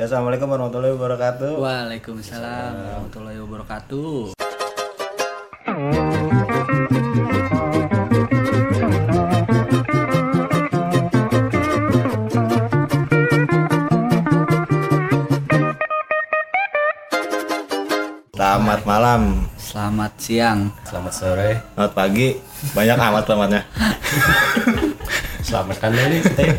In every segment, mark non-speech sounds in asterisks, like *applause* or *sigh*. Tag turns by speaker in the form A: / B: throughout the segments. A: Ya, Assalamualaikum warahmatullahi wabarakatuh.
B: Waalaikumsalam warahmatullahi wabarakatuh.
A: Selamat malam,
B: Selamat siang.
C: Selamat sore.
A: selamat pagi. Banyak amat
D: *laughs*
A: selamatnya.
C: Selamat kan ini kita ya.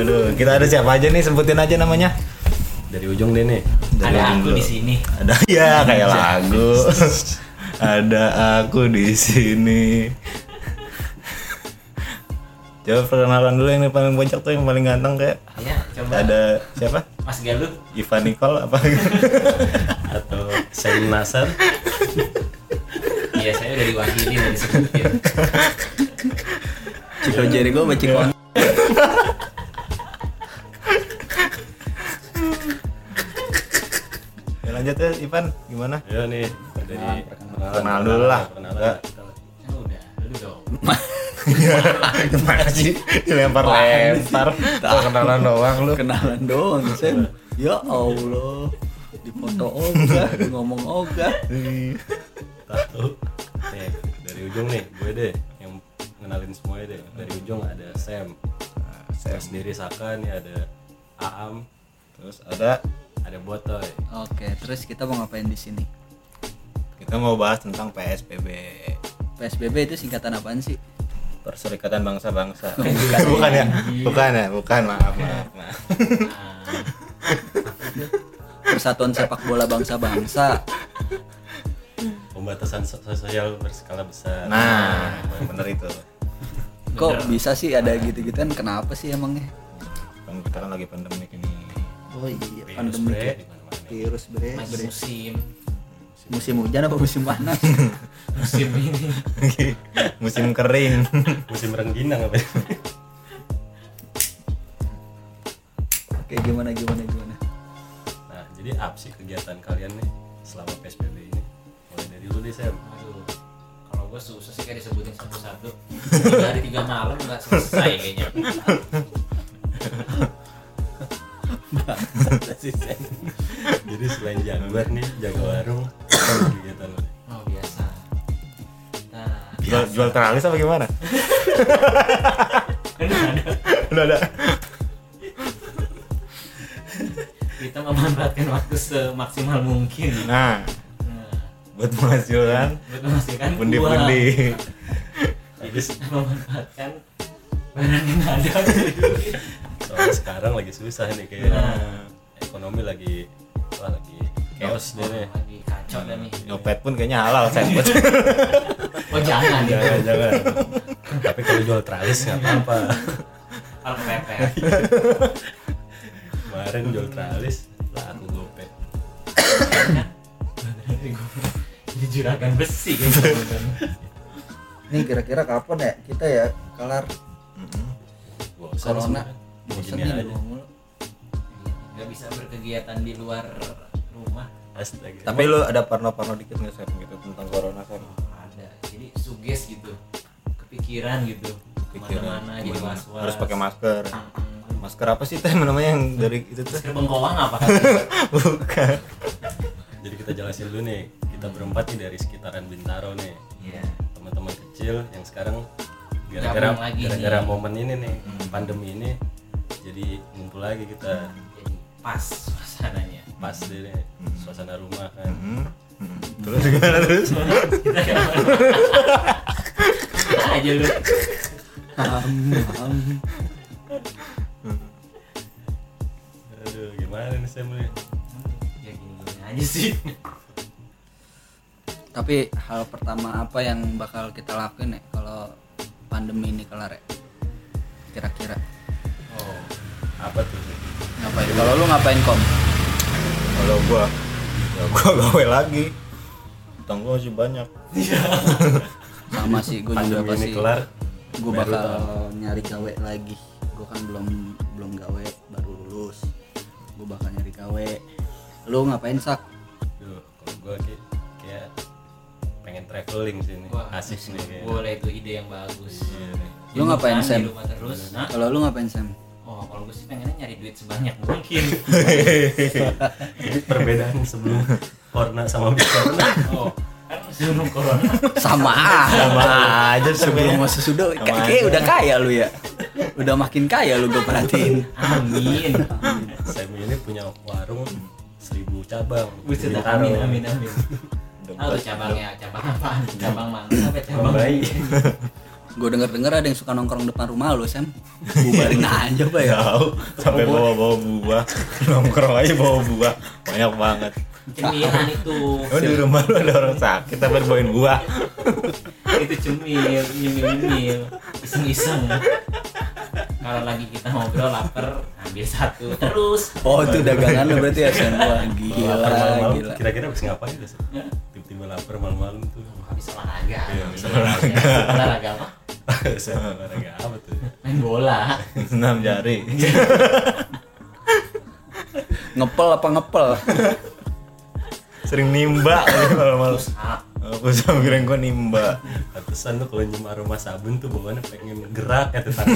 A: Aduh, kita ada siapa aja nih? Sebutin aja namanya.
C: dari ujung deh nih.
A: Dari
D: ada aku
A: dulu.
D: di sini
A: Ada ya
D: *laughs*
A: kayak lagu. ada aku di sini. Coba perkenalan dulu yang paling bocok tuh yang paling ganteng kayak
D: ya coba
A: ada siapa?
D: Mas Galuh
A: Ivan Nicole apa? *laughs*
C: Atau Sen Nasar.
D: iya saya udah diwakili dari sebutin
B: Ciko Jericho baca kon.
A: ya, lanjut ya Ivan, gimana?
C: Ya nih dari
A: Kenal dulu lah.
C: Perkenalan.
D: Ya udah lu dong
A: *laughs* Gimana sih? Dilempar-lempar. Perkenalan doang lu.
B: Kenalan doang, Sen. Ya Allah. Di foto ogah, di ngomong ogah.
C: Satu. Nih, dari ujung nih gue deh yang ngenalin semuanya deh. Dari ujung ada Sam. Sam sendiri Saka nih ada Aam,
A: Terus ada
C: ada Botoy.
B: Oke, terus kita mau ngapain di sini?
A: kita mau bahas tentang PSBB
B: PSBB itu singkatan apaan sih?
A: Perserikatan Bangsa-Bangsa. *laughs* bukan ya? Bukan ya? Bukan, maaf, maaf, maaf.
B: Persatuan Sepak Bola Bangsa-Bangsa.
C: Pembatasan so- sosial berskala besar.
A: Nah, bener itu.
B: Kok bisa sih ada gitu-gituan? Kenapa sih emangnya?
A: Kan kita kan lagi pandemi ini. *laughs*
B: Oh iya,
C: Virus bre, di mana-mana.
B: Virus bre.
D: Mas musim
B: Musim hujan apa musim *laughs* panas?
D: musim ini
A: Musim kering.
C: Musim rengginang apa? ya?
B: Oke, gimana gimana gimana?
C: *laughs* Nah, jadi apa sih kegiatan kalian nih selama PSBB ini? Mulai dari dulu deh,
A: *laughs*
C: Sam.
D: aduh kalau gue susah sih kayak disebutin satu-satu tiga hari tiga malam nggak selesai kayaknya
C: Jadi selain jaguar nih, jaga warung, apa lagi kegiatan lo?
D: oh biasa nah
A: Jual, jual teralis apa *laughs* gimana? Udah ada.
D: kita memanfaatkan waktu semaksimal mungkin
A: Nah,
D: nah
A: buat penghasilan
D: buat
B: Iya.
D: menghasilkan
A: pundi-pundi.
D: uang. jadi *laughs* memanfaatkan barang yang ada
C: Soalnya sekarang lagi susah nih kayak
D: Nah.
C: ekonomi lagi wah lagi chaos deh nih.
D: lagi kacau dan nih
A: Nyopet pun kayaknya halal, Sen.
B: Iya.
D: oh jangan ya
C: Jangan jangan. Tapi kalau jual tralis nggak apa-apa.
D: kalau kepepet
C: Kemarin jual tralis lah aku gope.
D: jadi Kan? juragan besi kan
B: Nih kira-kira kapan ya kita ya kelar
C: Bosan
B: corona?
C: sebenarnya.
B: Bosan
C: Begini
B: nih di
C: aja.
B: rumah mulu.
D: Iya. nggak bisa berkegiatan di luar rumah
C: Astaga.
A: *laughs* Tapi lu ada parno-parno dikit nggak, Sen? Gitu, tentang corona, Sen?
D: ada jadi suges gitu kepikiran gitu kemana-mana jadi was was
A: Harus pakai masker.
B: Ah.
A: Masker apa sih, Teh, namanya yang
B: Hmm.
A: dari itu tuh?
D: masker bengkoang
C: *laughs*
D: apa
A: Bukan.
C: Jadi kita jelasin dulu nih, kita berempat nih dari sekitaran Bintaro nih.
D: Iya.
C: Teman-teman kecil yang sekarang gara-gara
D: Gabung lagi Hmm.
C: gara-gara momen ini nih, pandemi ini jadi ngumpul lagi kita
D: jadi pas suasananya
C: pas deh nih,
D: Hmm.
C: suasana rumah kan.
A: Hmm. Hmm. Terus gimana terus?
D: kita kayak aja lu
B: Ham, ham.
C: Aduh, gimana nih Sam nih?
D: ya gini gini aja sih
B: Tapi hal pertama apa yang bakal kita lakuin ya kalau pandemi ini kelar ya? Kira-kira
C: Oh, apa tuh?
B: ngapain? Kalau lu ngapain kom?
A: Kalau gua, ya gua gawe lagi. Utang gua masih banyak.
B: Sama sih, gue juga
C: Pandemi ini
B: pasti
C: kelar.
B: gue bakal nyari gawe lagi. Gue kan belum belum gawe, baru lulus. Gue bakal nyari gawe. Lu ngapain sak?
C: Duh, kalau gua kayak, kayak pengen traveling sih nih.
D: Wah,
C: Asik nih kayak.
D: boleh itu ide yang bagus
C: Iya nih.
B: Lu ngapain,
D: Jangan
B: Sam?
D: di rumah terus nah
B: Kalau lu ngapain Sam?
D: oh kalau gue sih pengennya nyari duit sebanyak
C: *laughs*
D: mungkin
C: Ini perbedaan *laughs* sebelum corona sama abis corona.
D: oh kan sebelum corona
C: *laughs*
B: sama sama aja
A: ya.
B: sebelum masa sudah
A: Sama
B: kayak
A: aja.
B: kayak udah kaya lu ya udah makin kaya lu gue perhatiin
D: amin
C: Sam ini punya warung seribu cabang.
D: Buset,
C: Jadi
D: amin
C: taruh.
D: amin amin Tahu tuh
B: ya.
D: cabangnya, cabang apaan? Cabang mangga, apa cabang
C: bayi.
B: gue denger denger ada yang suka nongkrong depan rumah lu sam bubarin aja pak ya
A: tahu sampai bawa bawa buah nongkrong aja bawa buah banyak banget
D: Cemilan itu,
A: Oh, di rumah lu ada orang sakit tapi bawain buah
D: itu cemil, nyemil-nyemil, iseng-iseng. Kalau lagi kita ngobrol lapar, ambil satu terus.
B: oh itu dagangan lu berarti ya sam wah gila
C: Lapar malam-malam,
B: gila
C: Kira-kira habis ngapain ya? Sam?
D: Ya,
C: Tiba-tiba lapar malam-malam tuh. *laughs*
D: habis olahraga.
C: Iya, habis
D: olahraga. Olahraga apa?
C: Sam olahraga apa tuh?
D: Main bola.
A: enam jari
B: ngepel apa ngepel
A: *laughs* sering nimba gitu kalau malu
D: Push up.
A: aku sama keren gua nimba
C: Pantesan lu kalau nyium aroma sabun tuh bawaannya pengen gerak ya tetap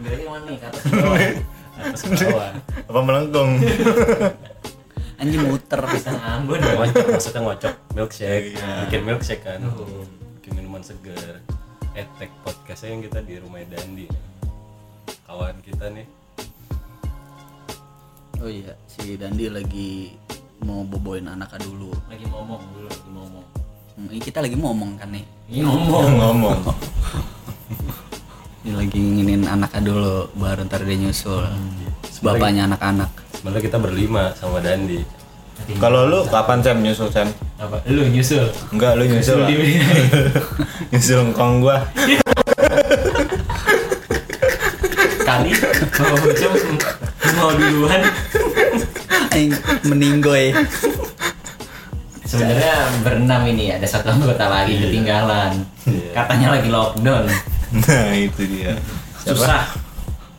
D: Geraknya kemana nih? Ke atas ke bawah.
C: atas ke bawah.
A: apa *laughs* melengkung
B: anjing muter
D: Bisa ngambun.
C: Ngocok, maksudnya ngocok milkshake,
A: Iya.
C: bikin milkshake kan, bikin minuman segar. Etek podcastnya yang kita di rumah Dandi. Kawan kita nih
B: oh iya si Dandi lagi mau boboin anaknya dulu
D: Lagi ngomong dulu, lagi ngomong.
B: Hmm, ini kita lagi ngomong kan nih
D: Ini ngomong.
A: Oh, ngomong
B: ini lagi nginin anaknya dulu baru ntar dia nyusul bapaknya anak-anak
C: sebenarnya kita berlima sama Dandi.
A: kalau lu kapan Sam nyusul Sam
D: apa? Lu nyusul.
A: enggak lu nyusul ah.
D: Nyusul
A: lah.
D: di
A: *laughs* nyusul ngkong gua
D: kali. Kalau Bocong mau duluan.
B: Aing meninggoy
D: Sebenarnya berenam ini ada satu anggota lagi ketinggalan. Katanya lagi lockdown.
A: nah itu dia
D: Susah.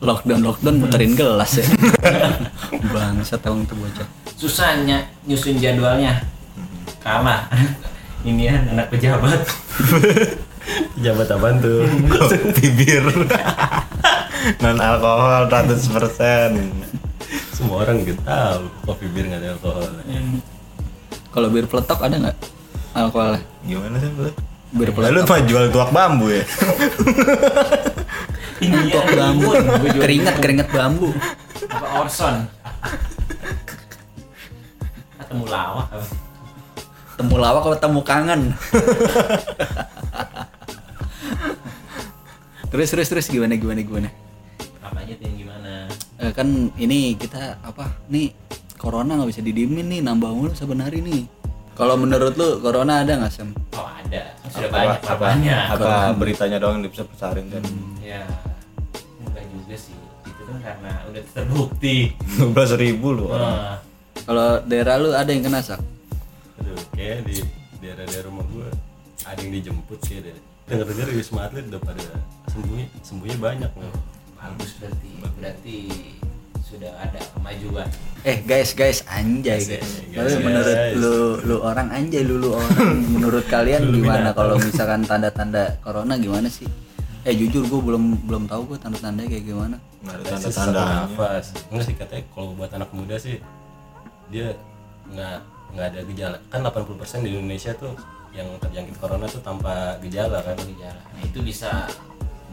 B: lockdown lockdown muterin gelas *laughs* ya bangsat emang tuh bocah
D: Susahnya nyusun jadwalnya. Kalah. *laughs* Ini kan anak pejabat.
C: Jabat apaan tuh?
A: kopi bir *laughs* non alkohol 100%
C: *laughs* Semua orang gitu tahu kopi bir nggak ada alkohol.
B: kalau bir peletok ada nggak alkoholnya
A: gimana Sam lu
B: bir
A: Lah, lu
B: peletok
A: mah jual tuak bambu ya
D: Ini
B: Tuak
D: dia,
B: bambu
D: Bun. Gua
B: *laughs*
D: jual
B: keringat keringat bambu
D: apa Orson ketemu lawak apa?
B: temu lawak kalau temu kangen terus terus terus gimana gimana gimana
D: apa aja tim gimana
B: Eh, kan ini kita apa nih corona nggak bisa didiemin nih nambah mulu sebenarnya nih kalau menurut lu corona ada nggak sem
D: oh ada sudah
A: Apa-
D: banyak
A: apa
D: kabarnya
A: apa beritanya doang yang bisa pesarin kan
D: ya enggak juga sih itu kan karena udah terbukti
A: 12 ribu lu orang
B: Hmm.
D: Wah,
B: kalau daerah lu ada yang kena sak
C: Aduh, kayak di daerah-daerah rumah gua ada yang dijemput sih ada. Dengar-dengar Wisma Atlet udah pada sembuhnya, sembuhnya banyak loh.
D: bagus berarti berarti sudah ada kemajuan
B: Eh guys guys anjay guys.
C: guys,
B: Tapi
C: guys.
B: menurut lu lu orang anjay lu lu orang menurut kalian gimana kalau misalkan tanda-tanda corona gimana sih? Eh jujur gue belum belum tahu gue tanda-tanda kayak gimana.
A: nggak ada
C: Katanya sih sesak
A: tanda-tanda
C: nafas. Enggak sih katanya kalau buat anak muda sih dia nggak nggak ada gejala. Kan 80% di Indonesia tuh yang terjangkit corona tuh tanpa gejala kan.
D: gejala nah itu bisa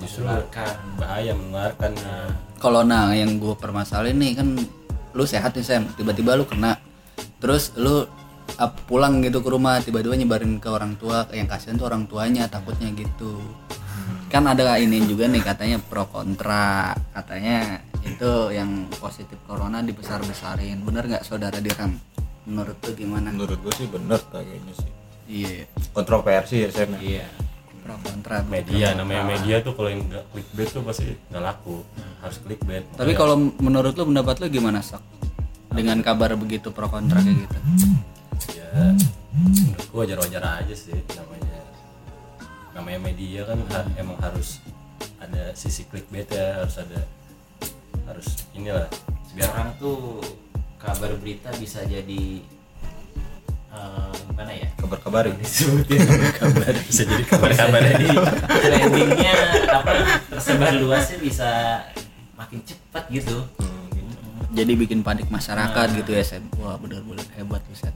C: Justru.
D: menularkan
C: Bahaya menularkan.
B: Kalau nah yang gue permasalahin nih kan lu sehat nih Sam, tiba-tiba lu kena. Terus lu ap- pulang gitu ke rumah tiba-tiba nyebarin ke orang tua yang kasihan tuh orang tuanya takutnya gitu kan ada ini juga nih katanya pro kontra katanya itu yang positif corona dibesar besarin bener nggak saudara diram menurut tuh gimana
A: menurut gua sih bener kayaknya sih
B: iya
A: kontroversi ya Sam
D: iya
B: pro kontra tuh.
C: media namanya media tuh kalau yang nggak clickbait tuh pasti nggak laku harus clickbait
B: tapi kalau menurut lu pendapat lu gimana sok dengan kabar begitu pro kontra kayak gitu
C: ya menurut gua wajar-wajar aja sih namanya namanya media kan ha- emang harus ada sisi clickbait ya harus ada harus inilah biar
D: sekarang tuh kabar berita bisa jadi eh, gimana ya
A: kabar-kabarin
D: disebutin
C: kabar bisa jadi kabar-kabar jadi
D: trendingnya apa tersebar luasnya bisa makin cepat cepat gitu
B: jadi bikin panik masyarakat gitu ya Sam wah benar-benar hebat lu Sam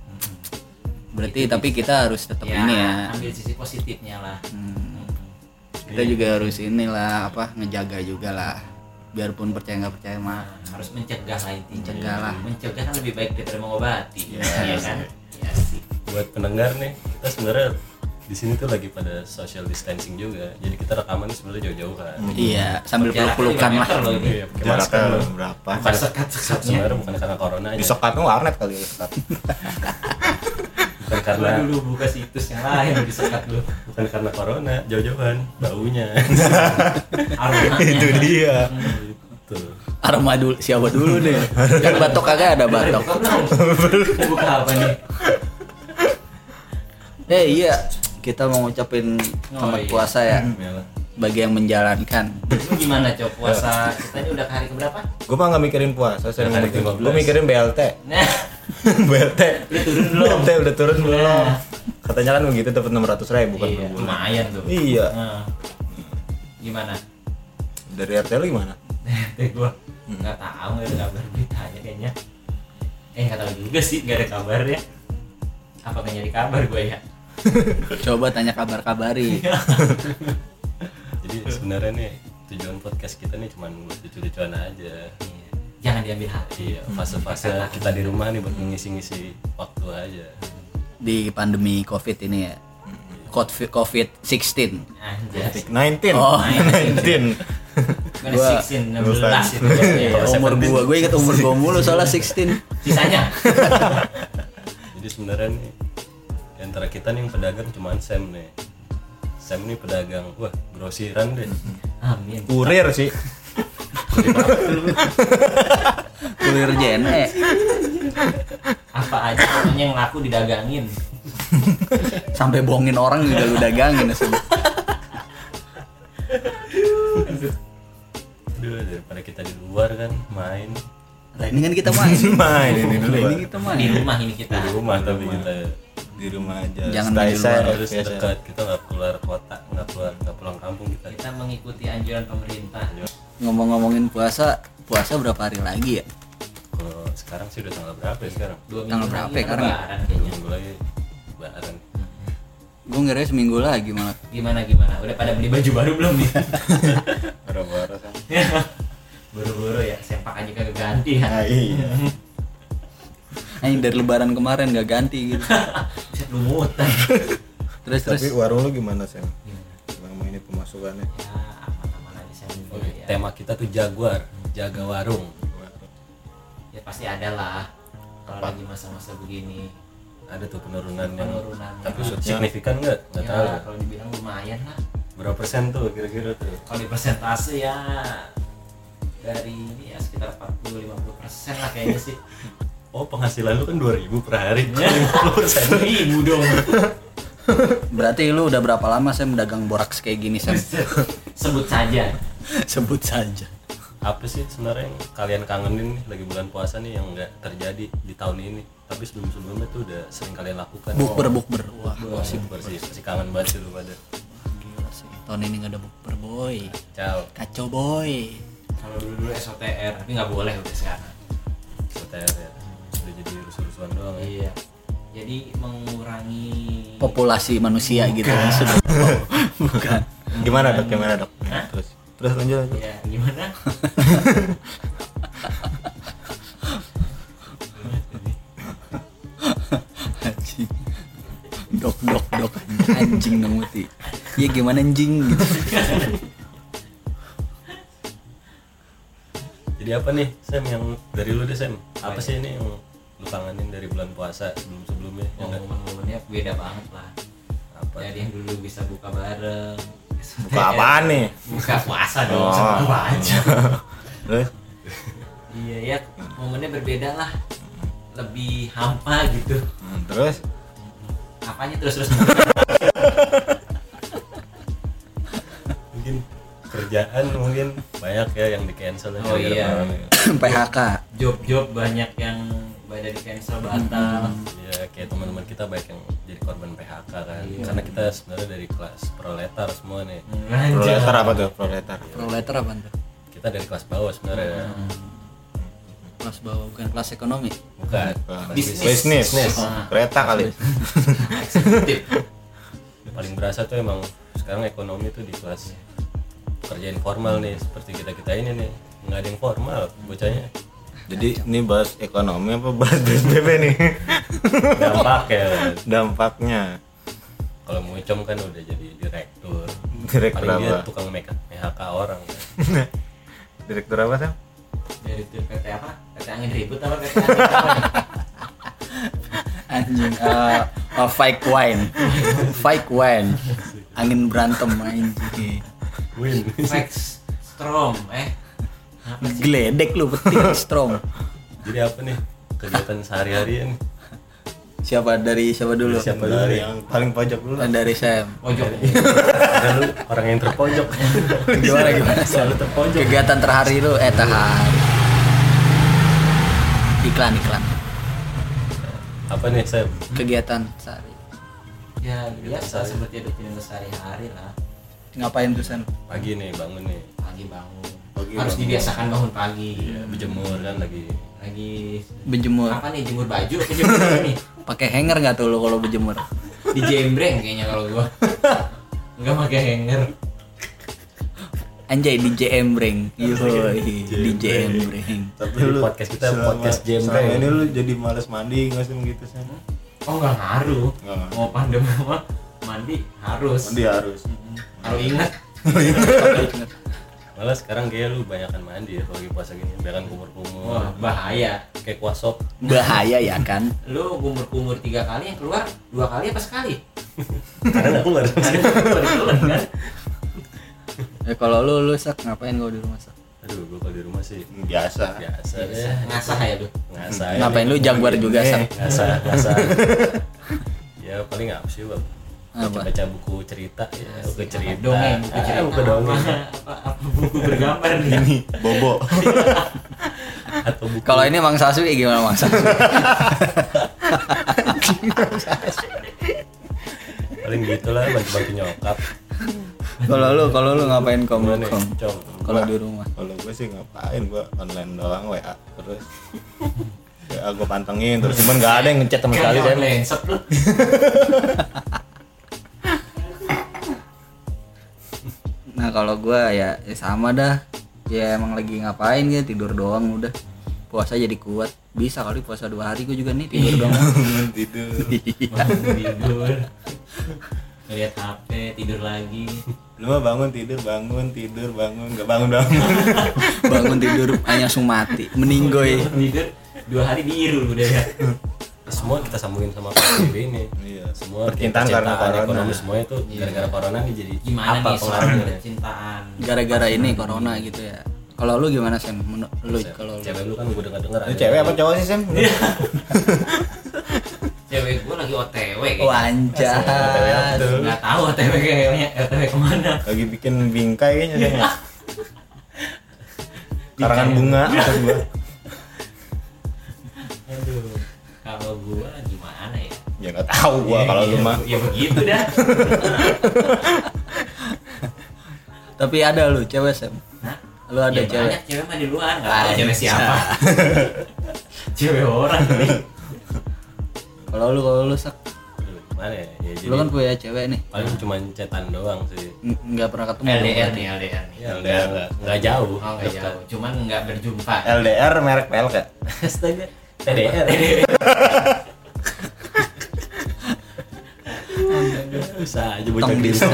B: berarti tapi kita harus tetap ini Gitu, ya
D: ambil sisi positifnya lah
B: Hmm. kita juga harus inilah apa ngejaga juga lah biarpun percaya nggak percaya mah
D: Nah, harus mencegah lah intinya
B: Mencegah lah.
D: mencegah kan lebih baik daripada mengobati iya kan iya sih
C: buat pendengar nih kita sebenarnya di sini tuh lagi pada social distancing juga jadi kita rekaman sebenarnya jauh-jauh kan
B: iya sambil
D: Jaraknya
B: peluk-pelukan
D: lima
B: lah
D: meter loh ini.
C: iya pakai masker
A: jaraknya
C: loh.
A: berapa
D: bukan sekat ya. sekatnya
C: sebenarnya bukan karena corona aja
A: besok kan warnet kali ya sekat
C: bukan
D: karena
C: karena
D: dulu buka situs yang lain di sekat lu
C: bukan karena corona jauh-jauhan *laughs* baunya
D: aromanya
A: *laughs* itu dia
C: gitu
B: aroma dulu siapa dulu nih kan batok kagak ada batok
D: buka apa nih
B: *laughs* eh iya kita mau ngucapin
D: Oh,
B: selamat
D: iya.
B: puasa ya
C: Yalah.
B: bagi yang menjalankan
D: Lu gimana cok puasa kita ini udah ke hari keberapa
A: gue mah nggak mikirin puasa saya
C: Yang hari
A: mikirin
C: 15.
A: gue mikirin *laughs* BLT
D: nah
A: BLT
D: udah turun belum
A: BLT udah turun Iya. belum katanya kan begitu dapat enam ratus ribu kan per
D: iya,
A: bulan
D: lumayan tuh
A: Iya.
D: Nah. gimana
A: dari RT lu gimana
D: Teh gua nggak tahu nggak ada kabar beritanya kayaknya eh nggak tahu juga sih nggak ada kabar ya apa nggak nyari kabar gua ya
B: coba tanya kabar-kabari
C: jadi sebenarnya nih tujuan podcast kita nih cuman buat lucu-lucuan aja
D: Iya. jangan diambil hati
C: iya fase-fase kita di rumah nih buat ngisi-ngisi waktu aja
B: di pandemi covid ini ya covid 16
D: anjas
A: nineteen
B: Oh,
A: *laughs* nineteen
D: mana
B: Gua- Iya,
D: sixteen enam belas itu
B: Kalau
D: ya.
B: umur gua, gue inget umur gua mulu soalnya 16
D: sisanya
C: jadi sebenarnya nih di antara kita nih yang pedagang cuman Sam nih Sam nih pedagang wah grosiran deh
D: amin
A: kurir sih
B: Kulir jene
D: apa aja pokoknya yang laku didagangin
B: Sampai bohongin orang juga lu dagangin ya, Sam.
C: Aduh, daripada kita di luar kan main
B: Lah ini kan kita main
A: main ini
B: Lah,
A: dulu
B: Ini kita
D: di
B: main
D: rumah ini kita
C: di rumah tapi kita ya.
A: di rumah aja
B: Jangan
A: Stay
B: di luar,
A: safe,
C: harus
A: biasa.
C: dekat kita nggak keluar kota nggak keluar nggak pulang kampung kita
D: kita mengikuti anjuran pemerintah
B: Ngomong-ngomongin puasa Puasa berapa hari lagi ya?
C: kalau sekarang sih udah tanggal berapa ya sekarang
D: dua
B: Tanggal
D: minggu
B: berapa
D: lagi
B: ya, Karang?
D: lebaran
C: dua
D: kayaknya
C: minggu lagi lebaran
B: Gue ngira seminggu lagi malah
D: gimana gimana udah pada beli baju baru belum nih *laughs*
A: Baru-baru kan.
D: buru-buru ya sempak aja kagak ganti ya
A: Nah, iya
B: Anjing Nah, dari lebaran kemarin gak ganti gitu
D: Set *laughs* lumutan.
B: Terus terus
A: tapi warung lu gimana Sam
D: Gimana?
A: selama ini pemasukannya
D: Ya, aman-aman aja saya
C: Oh,
D: dulu ya.
C: tema kita tuh jaguar jaga warung
D: Ya pasti ada lah. Kalau lagi masa-masa begini.
C: ada tuh penurunan yang
D: Penurunan.
C: tapi signifikan nggak nggak tahu
D: Ya, kalau dibilang lumayan lah.
C: berapa persen tuh kira-kira tuh
D: Kalau di persentase ya dari ini ya sekitar 40 50 persen lah kayaknya *laughs* sih.
C: oh penghasilan lu kan 2000 per hari
D: Ya, 50 ribu dong.
B: Berarti lu udah berapa lama saya mendagang boraks kayak gini
D: *laughs*
B: Sam?
D: Buset. Sebut saja.
B: Sebut saja
C: apa sih sebenarnya yang kalian kangenin nih lagi bulan puasa nih yang nggak terjadi di tahun ini tapi sebelum-sebelumnya tuh udah sering kalian lakukan
B: Bukber bukber Wah
C: Wah, super sih pasti kangen banget sih lu pada
B: gila sih Tahun ini gak ada bukber boy
C: ciao
B: Kacau boy
D: Kalau dulu dulu SOTR tapi nggak boleh udah sekarang.
C: OTR ya udah jadi rusuh-rusuhan doang ya
D: Iya. Jadi mengurangi
B: Populasi manusia gitu maksudnya Bukan
A: gimana dok gimana dok
D: Hah?
A: terus terus lanjut lanjut
D: Ya, gimana?
B: anjing dok dok dok anjing dong mati ya gimana anjing gitu
C: jadi apa nih Sam yang dari lu deh Sam apa sih ini yang lu kangenin dari bulan puasa sebelum-sebelumnya ya
D: Oh.
A: Oh.
C: nggak?
D: momen-momennya beda banget lah
C: apa
D: jadi yang dulu bisa buka bareng
A: buka apaan nih *laughs*
D: buka puasa dong
A: Oh.
D: sama aja
A: terus
D: iya ya momennya berbeda lah lebih hampa gitu
A: Hmm, terus
D: apanya terus terus
C: mungkin kerjaan mungkin banyak ya yang di cancel
D: Oh, iya.
B: PHK
D: job-job banyak yang pada di cancel batal
A: Hmm.
C: ya kayak teman-teman kita banyak yang jadi korban PHK kan karena kita sebenarnya dari kelas proletar semua nih
D: Anjir.
A: proletar apa tuh proletar
B: proletar apa tuh
C: kita kita dari kelas bawah sebenarnya
B: kelas bawah bukan kelas ekonomi
C: bukan
A: Nah,
D: Bisnis.
A: bisnis, Ah.
C: Bisnis.
A: kereta *laughs* kali
D: Eksekutif.
C: paling berasa tuh emang sekarang ekonomi tuh di kelas kerja informal nih seperti kita kita ini nih nggak ada yang formal bocahnya
A: jadi ini bahas ekonomi apa bahas BSBB *laughs* nih
C: dampak ya
A: dampaknya
C: kalau mucom kan udah jadi direktur
A: Direktur
C: paling dia
A: apa?
C: tukang make- PHK orang kan.
A: *laughs* direktur apa Sam?
D: Dari tim PT apa? PT angin ribut apa PT angin apa?
A: *laughs*
B: anjing eh oh, fake wine fake wine angin berantem anjing
C: win
D: Max Strom eh. Apa sih?
B: geledek lu betul strong
C: jadi apa nih kegiatan sehari-hari ini
B: siapa dari siapa dulu Eh,
C: siapa dulu
A: dari
C: nih?
A: yang paling pojok dulu lah.
B: dari Sam *laughs*
A: *laughs*
D: Pojok.
C: Karena lu orang yang terpojok
B: gimana *laughs* gimana Sam?
C: selalu terpojok
B: kegiatan terhari lu eh terhari iklan iklan
C: apa nih saya
B: kegiatan sehari
D: Ya biasa seperti hidup kita sehari-hari lah.
B: ngapain tuh Sam
C: pagi nih bangun nih
D: Pagi bangun.
A: Pagi
D: Harus
A: bangun. Iya,
D: dibiasakan bangun pagi.
C: berjemur kan lagi
D: Lagi
B: berjemur
D: apa nih jemur baju? Apa Jemur ini.
B: pakai hanger nggak tuh lu kalau berjemur
D: Di jembreng kayaknya kalau
A: *laughs*
D: gua. Enggak pakai hanger.
B: anjay DJ Embreng yoi DJ Embreng
A: tapi
C: Jadi podcast kita podcast jembreng.
A: selama ini lu jadi males mandi nggak sih gitu Sam?
D: Oh nggak ngaruh.
A: Nggak ngaruh.
D: Mau pandemi mah mandi harus.
A: mandi ya? harus
D: Kalau ingat
C: malah sekarang kayak lu banyakan mandi ya kalau lagi puasa gini banyakan
A: Oh.
C: kumur-kumur
D: wah bahaya.
C: kayak kuasop
B: bahaya ya kan
D: Lu kumur-kumur tiga kali yang keluar dua kali apa
A: *laughs*
D: sekali?
C: karena aku nggak
D: Karena
C: ada
D: kebetulan kan.
B: Eh, kalau lu lu sak ngapain kalau di rumah sak
C: *laughs* aduh gua kalau di rumah sih
A: biasa
C: biasa
A: Iya.
C: deh
D: Ngasah ya lu.
C: ngasah ya.
B: ngapain lu jaguar juga
A: Eh.
B: sak
C: ngasah ngasah ya paling apa sih bang
B: Apa?
C: baca buku cerita ya buku cerita
D: Dongeng, buku
C: Ah,
D: cerita.
C: buku
D: *laughs*
C: dongeng
D: Apa, apa, apa buku bergambar nih?
A: Eh, ini bobo *laughs*
C: atau buku
B: kalau ini Mang Saswi eh, gimana Mang Saswi
C: paling gitulah bantu-bantu nyokap
B: kalau lu kalau lu ngapain kom
C: Gimana ya?
B: kom
C: nih, com
B: kalau di rumah
A: kalau gue sih ngapain gue online doang WA terus *laughs* ya gue pantengin terus cuman nggak ada yang ngechat sama sekali kan.
D: Kayak
A: Sam.
D: lensep lu.
B: nah kalau gua ya, ya sama dah ya emang lagi ngapain ya tidur doang udah puasa jadi kuat bisa kali puasa dua hari gua juga nih
D: Iya.
B: tidur
D: *laughs*
B: doang
A: tidur
D: Bangun tidur. Ngeliat HP, tidur lagi.
A: lu mah bangun tidur bangun tidur bangun nggak bangun bangun
B: bangun tidur hanya sumati meninggoy
D: Tidur dua hari biru udah ya.
C: semua kita sambungin sama PSBB ini
A: Iya.
C: Nah, semua
A: Percintaan karena
C: percintaan,
A: corona.
C: ekonomi semuanya tuh gara-gara corona nih jadi
D: Gimana
C: apa
D: nih soal
C: pengaruhnya
D: percintaan?
B: gara-gara ini corona gitu ya kalau lu gimana Sam Menurut lu kalau lu
C: cewek lu kan gue dengar dengar
A: lu cewek apa cowok sih Sam?
D: Cewek gua lagi OTW
B: Oh,
D: kayaknya.
B: Wanjar
D: Nggak tahu OTW kayaknya OTW kemana.
A: lagi bikin bingkai kayaknya Sam, ya. *laughs* karangan bunga maksud gue
D: Aduh. Kalau gua gimana ya?
A: ya nggak tahu gue kalau lu
D: Ya,
A: mah
D: Ya begitu dah.
B: tapi ada lu cewek Sam
D: Hah?
B: lu ada
D: Ya,
B: cewek
D: banyak cewek mah di luar nggak ada cewek siapa cewek orang kali.
B: kalau lu kalau lu sak
C: gimana ya, ya jadi
B: lu kan punya cewek nih
C: paling cuma cetan doang sih
B: N- nggak pernah ketemu
D: LDR nih LDR nih
C: ya nggak nggak nggak jauh
D: Iya,
C: kan-
D: oh nggak
C: Dekat.
D: jauh cuman nggak berjumpa
A: LDR merek PLK
C: *laughs* astaga
D: *laughs*
C: TDR bisa aja bocah
B: tong di
C: gitu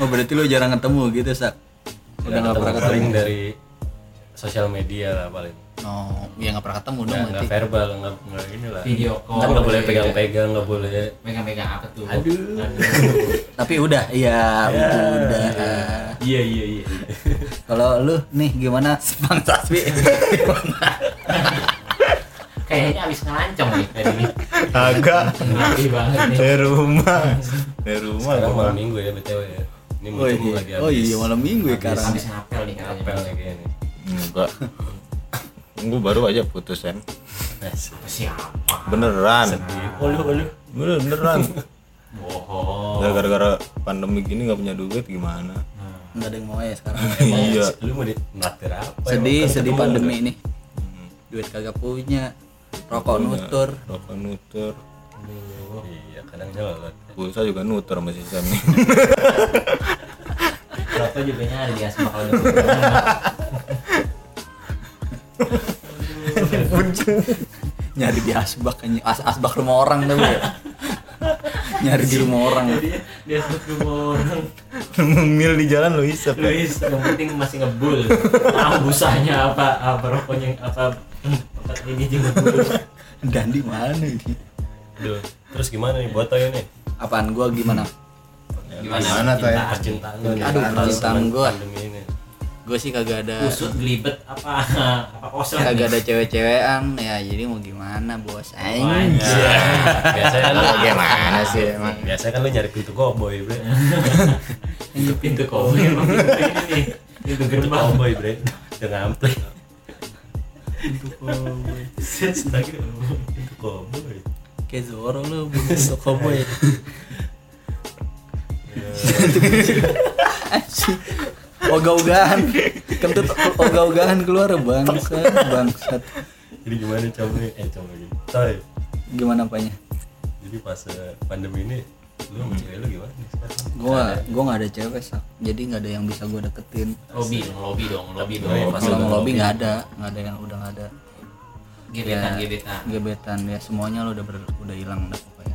B: oh berarti lu jarang ketemu gitu sak udah nggak pernah
C: paling
B: ketemu
C: dari sosial media lah paling
B: no ya nggak pernah ketemu
C: nggak
B: dong
C: nggak
B: berarti
C: verbal nggak nggak ini lah
D: Video call. gitu ya.
C: kan nggak boleh pegang-pegang nggak boleh
D: megang-megang apa tuh
C: Aduh.
B: tapi udah ya udah
D: iya iya iya
B: kalau lu nih gimana *laughs* Bang Saswi Gimana?
D: kayaknya abis ngelancong nih tadi nih
A: agak
D: ngeri banget nih
A: dari rumah dari rumah
C: sekarang
A: gue
C: malam minggu ya btw ya ini
B: oh
C: muncul lagi
B: iya,
C: habis
B: oh, iya malam minggu ya
D: abis,
B: sekarang
D: abis ngapel nih
C: apel
D: katanya
C: kayak gini
A: enggak gue baru aja putus Sam
C: Asik.
D: siapa
A: beneran
C: Nah, sedih Oh, ulu ulu
A: Bener- *laughs* beneran
D: bohong
A: Ya, Gara- gara-gara pandemi gini nggak punya duit gimana
D: Nah,
B: nggak ada yang mau ya *laughs* sekarang
A: Iya.
C: lu mau di naktir apa emang?
B: sedih
C: Kan
B: sedih
C: ketemu
B: pandemi
C: lu.
B: nih duit kagak Hmm. punya rokok nutur
A: Rokok nutur.
C: iya kadang nyelot
A: Pulsa juga nutur sama si Sam nih.
D: Rokok juga nyari di asma kalau udah pulang.
B: nyari di asbak kan as asbak rumah orang tuh *laughs* ya nyari di rumah orang
D: Dia dia sebut rumah orang.
A: *laughs* Ngemil di jalan lu isep. ya?
D: Luis yang penting masih ngebul. Tahu busanya apa apa rokoknya apa tempat ini juga ngebul.
B: dandi mana ini
C: Duh, terus gimana nih buat Toyo nih
B: apaan gua gimana
A: Ya,
D: Gimana?
A: Gimana tuh ya?
C: percintaan lu nih,
B: Aduh,
C: pas
B: percintaan
C: zaman
B: gua.
C: pandemi ini
B: gue sih kagak ada
D: Usut gelibet apa *laughs* apa kosong.
B: kagak ada cewek-cewekan ya jadi mau gimana bos aing
D: Anjir.
C: Iya. biasanya lu
A: Gimana sih emang?
C: biasanya kan lu nyari pintu cowboy bre
D: Itu pintu kowe emang *laughs* pintu ini nih. Pintu
C: pintu
D: gerbang.
C: cowboy bre dengan ampli
B: Pintu koboi.
D: Set, lagi.
C: pintu cowboy
B: kayak Zoro lu ya. bentuk koboi *laughs* ogah-ogahan kentut ogah-ogahan keluar bangsat bangsat
C: jadi gimana cowboy eh cowboy gitu Toy
B: gimana apanya
C: jadi pas eh, pandemi ini lu sama cewek lu gimana nih sekarang
B: gua gua nggak ada cewek sak jadi nggak ada yang bisa gua deketin
D: Lobby dong, lobby dong, lobby dong.
C: Oh, iya, pasti
B: kalau
C: ada
B: mau lobby
C: lobby.
B: nggak ada nggak ada yang udah nggak ada Iya.
D: Gebetan, gebetan.
B: gebetan ya semuanya lu udah ber, udah hilang udah pokoknya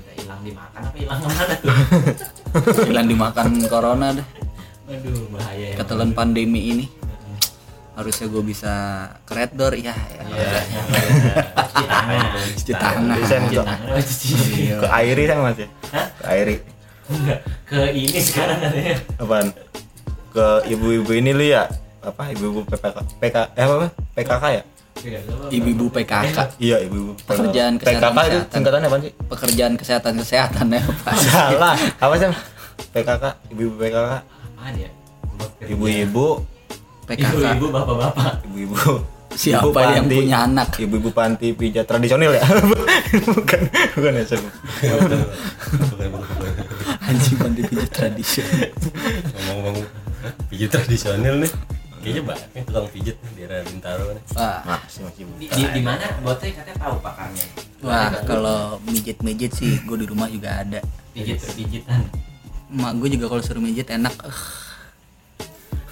D: Cinta hilang dimakan apa hilang kemana
B: *laughs*
D: tuh?
B: hilang dimakan corona dah
D: Aduh, bahaya ya.
B: ketelan pandemi ini harusnya gue bisa keret door ya ya
D: Iya, iya, iya. cuci tangan.
B: cuci tangan Iya.
A: Sam
D: Cuci
A: ke
D: tangan apa cuci?
A: ke Airi Sam masih. Ke Airi.
D: Enggak, ke ini sekarang katanya.
A: Apaan? Ke ibu-ibu ini lu ya? Apa ibu-ibu PPK PK eh apa? apa? PKK ya?
D: Iya, gak apa-apa. Eh,
B: ibu-ibu PKK
A: Iya, ibu-ibu. PKK.
B: Pekerjaan kesehatan-
A: PKK itu
B: kesehatan.
A: singkatannya apa
B: *laughs*
A: sih?
B: pekerjaan kesehatan kesehatan ya pak
A: Salah. Apa sih? PKK, ibu-ibu PKK,
D: Apaan ya? Buat kerja.
A: ibu-ibu,
B: PKK
D: Ibu-ibu, bapak-bapak.
A: ibu-ibu.
B: *laughs* Siapa
A: ibu
B: yang punya anak?
A: Ibu-ibu panti pijat tradisional ya? *laughs* bukan, bukan ya, Sam.
B: anjing mandi pijat tradisional
C: ngomong-ngomong pijit tradisional nih kayaknya banyak nih tukang pijit nih di daerah Bintaro nih
B: wah
A: Nah, sih masih ibu.
D: Di, di, di mana? Buatnya katanya tahu pakarnya.
B: Iya. wah kalau mijit mijit sih gue di rumah juga ada
D: pijit pijitan.
B: emak gue juga kalau suruh mijit enak Eh,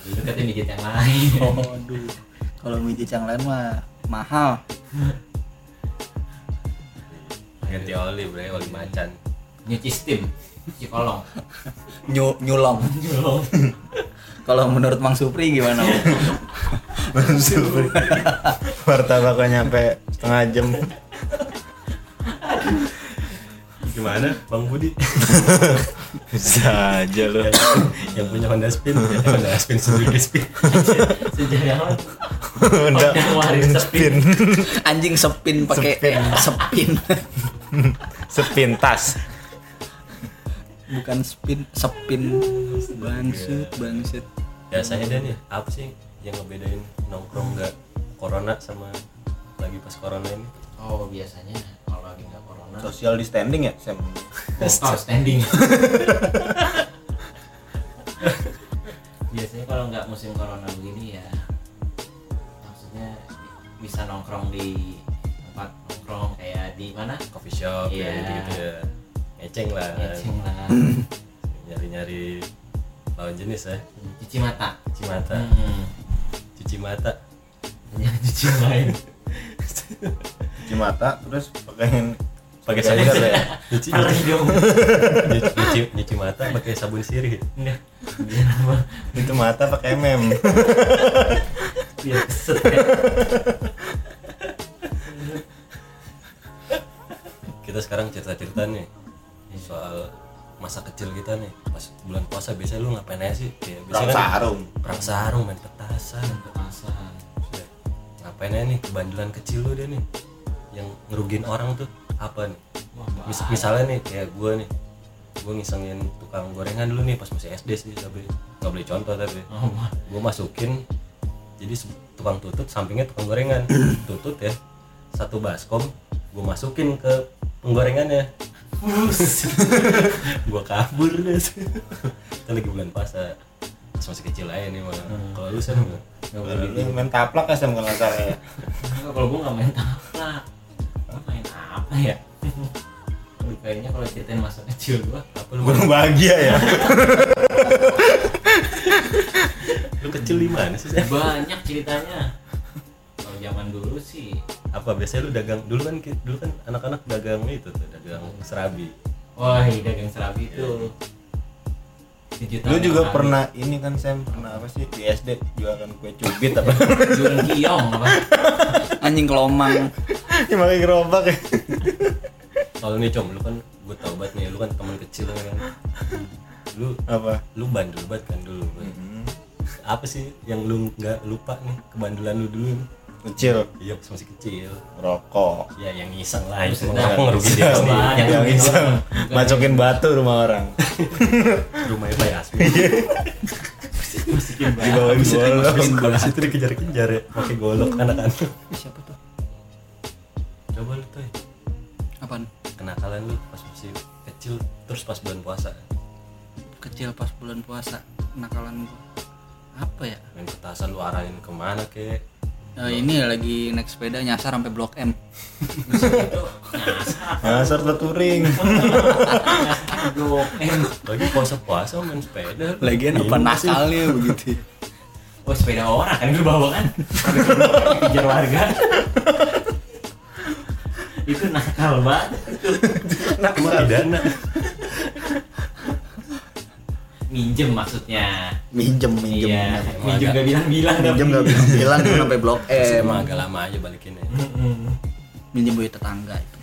D: Itu katanya pijit yang lain.
B: kalau mijit yang lain mah mahal
C: ganti oli bre oli macan
D: Nyuci steam, cuci
C: *laughs*
D: kolong.
B: Nyu- nyulong
D: Kolong.
B: *laughs* kalau menurut Mang Supri gimana
A: Langsung. Martabaknya nyampe setengah jam.
C: gimana Bang Budi
A: Bisa aja lu.
C: yang punya Honda Spin ya Honda Spin Suzuki Spin
D: Sejak awal.
A: Udah.
D: Udah ngeluarin
A: Spin.
D: sepin.
B: anjing sepin pakai sepin *laughs*
A: Sepintas.
B: bukan spin sepin bangsut bangsut
C: biasanya dan ya apa sih yang ngebedain nongkrong nggak corona sama lagi pas corona ini
D: Oh, biasanya kalau lagi nggak corona.
A: Social distancing ya, Sam.
D: Oh,
C: *laughs*
D: standing. Biasanya kalau nggak musim corona begini ya, maksudnya bisa nongkrong di tempat nongkrong kayak di mana? Ya,
C: coffee shop
D: Iya.
C: ya gitu ya ngeceng lah
D: Ecing lah,
C: nyari nyari lawan jenis ya
D: cuci mata.
C: cuci mata
D: Hmm.
C: cuci mata
D: Jangan cuci yang lain.
A: Cuci mata terus pakai
C: pakai sabun
A: sirih ya.
C: cuci
D: Parah dong.
C: nyuci, nyuci, nyuci mata pakai sabun sirih
D: Nggak. Biar apa?
A: Itu mata pakai E mem.
D: Biar keset ya.
C: kita sekarang cerita cerita nih soal masa kecil kita nih pas bulan puasa biasanya lu ngapain aja sih ya,
A: Perang
C: biasanya kan
A: sarung.
C: perang sarung main petasan
D: Kepanasan.
C: ngapain aja nih kebandelan kecil lu dia nih yang ngerugiin orang tuh apa nih
D: Wah,
C: Mis- misalnya nih kayak gue nih gue ngisengin tukang gorengan dulu nih pas masih SD sih tapi nggak boleh contoh tapi
D: Oh, wah.
C: gue masukin jadi se- tukang tutut sampingnya tukang
D: *clears throat*
C: gorengan tutut ya satu baskom gue masukin ke penggorengannya *laughs*
D: *laughs*
C: gue kabur deh Itu lagi bulan Kan puasa masih masih kecil aja nih malah
D: Hmm.
C: kalau lu sen enggak
D: Gak
A: Kalau
D: boleh
A: lu main taplak ya Sam kalau nggak salah ya.
D: Enggak, kalau gue gak main taplak Gue main apa ya? Aduh, kayaknya kalau ceritain masa kecil gue Apa lu
A: Kurang bahagia ya.
C: lu kecil di mana sih Sen?
D: Banyak ceritanya Kalau zaman dulu sih
C: apa biasanya lu dagang dulu kan ki- dulu kan anak-anak dagang itu tuh dagang serabi
D: Wah, dagang serabi itu Sejuta
A: Lu juga
D: orang.
A: pernah ini kan Sam pernah apa sih di SD jualan kan, kue cubit apa?
D: *laughs* Jual kiong apa?
B: anjing kelomang
A: Ini pakai gerobak ya.
C: kalau nih com lu kan gue tau banget nih lu kan teman kecil kan lu
A: Apa?
C: lu bandel banget kan dulu apa sih yang lu nggak lupa nih kebandelan lu dulu nih?
A: Kecil
C: iya pas masih kecil
A: rokok.
C: ya yang iseng lah
D: Buset
C: iseng
D: dah.
C: orang ngerugi dia
D: Iseng
C: sendiri.
D: banget.
C: yang
A: Yang
D: Yang
A: iseng
D: orang.
A: macokin batu rumah orang.
C: rumahnya Pak Yasmin
D: Masukin
A: Di
D: banget.
A: bawah
C: bisa dimasukin
A: golok.
C: golok situ dikejar-kejar ya pakai golok anak-anak
B: siapa tuh
C: coba lu tuh
B: apaan
C: kenakalan lu pas masih kecil terus pas bulan puasa
B: kecil pas bulan puasa nakalan gua apa ya
C: main petasan lu arahin kemana kek
B: Eh, ini lagi naik sepeda nyasar sampai blok M
A: Nyasar turing.
D: Blok M.
C: lagi puasa-puasa main sepeda
B: lagian apa nakalnya begitu
D: Oh, sepeda orang kan lu bawa kan? Dikejar warga. itu nakal banget itu.
C: nakal pidana
D: Minjem maksudnya.
B: minjem
D: iya, minjem gak bilang-bilang
A: Iya.
D: tapi.
B: minjem nggak bilang bilang sampai blok M
C: emang agak lama aja balikinnya
D: Mm-mm.
B: minjem duit tetangga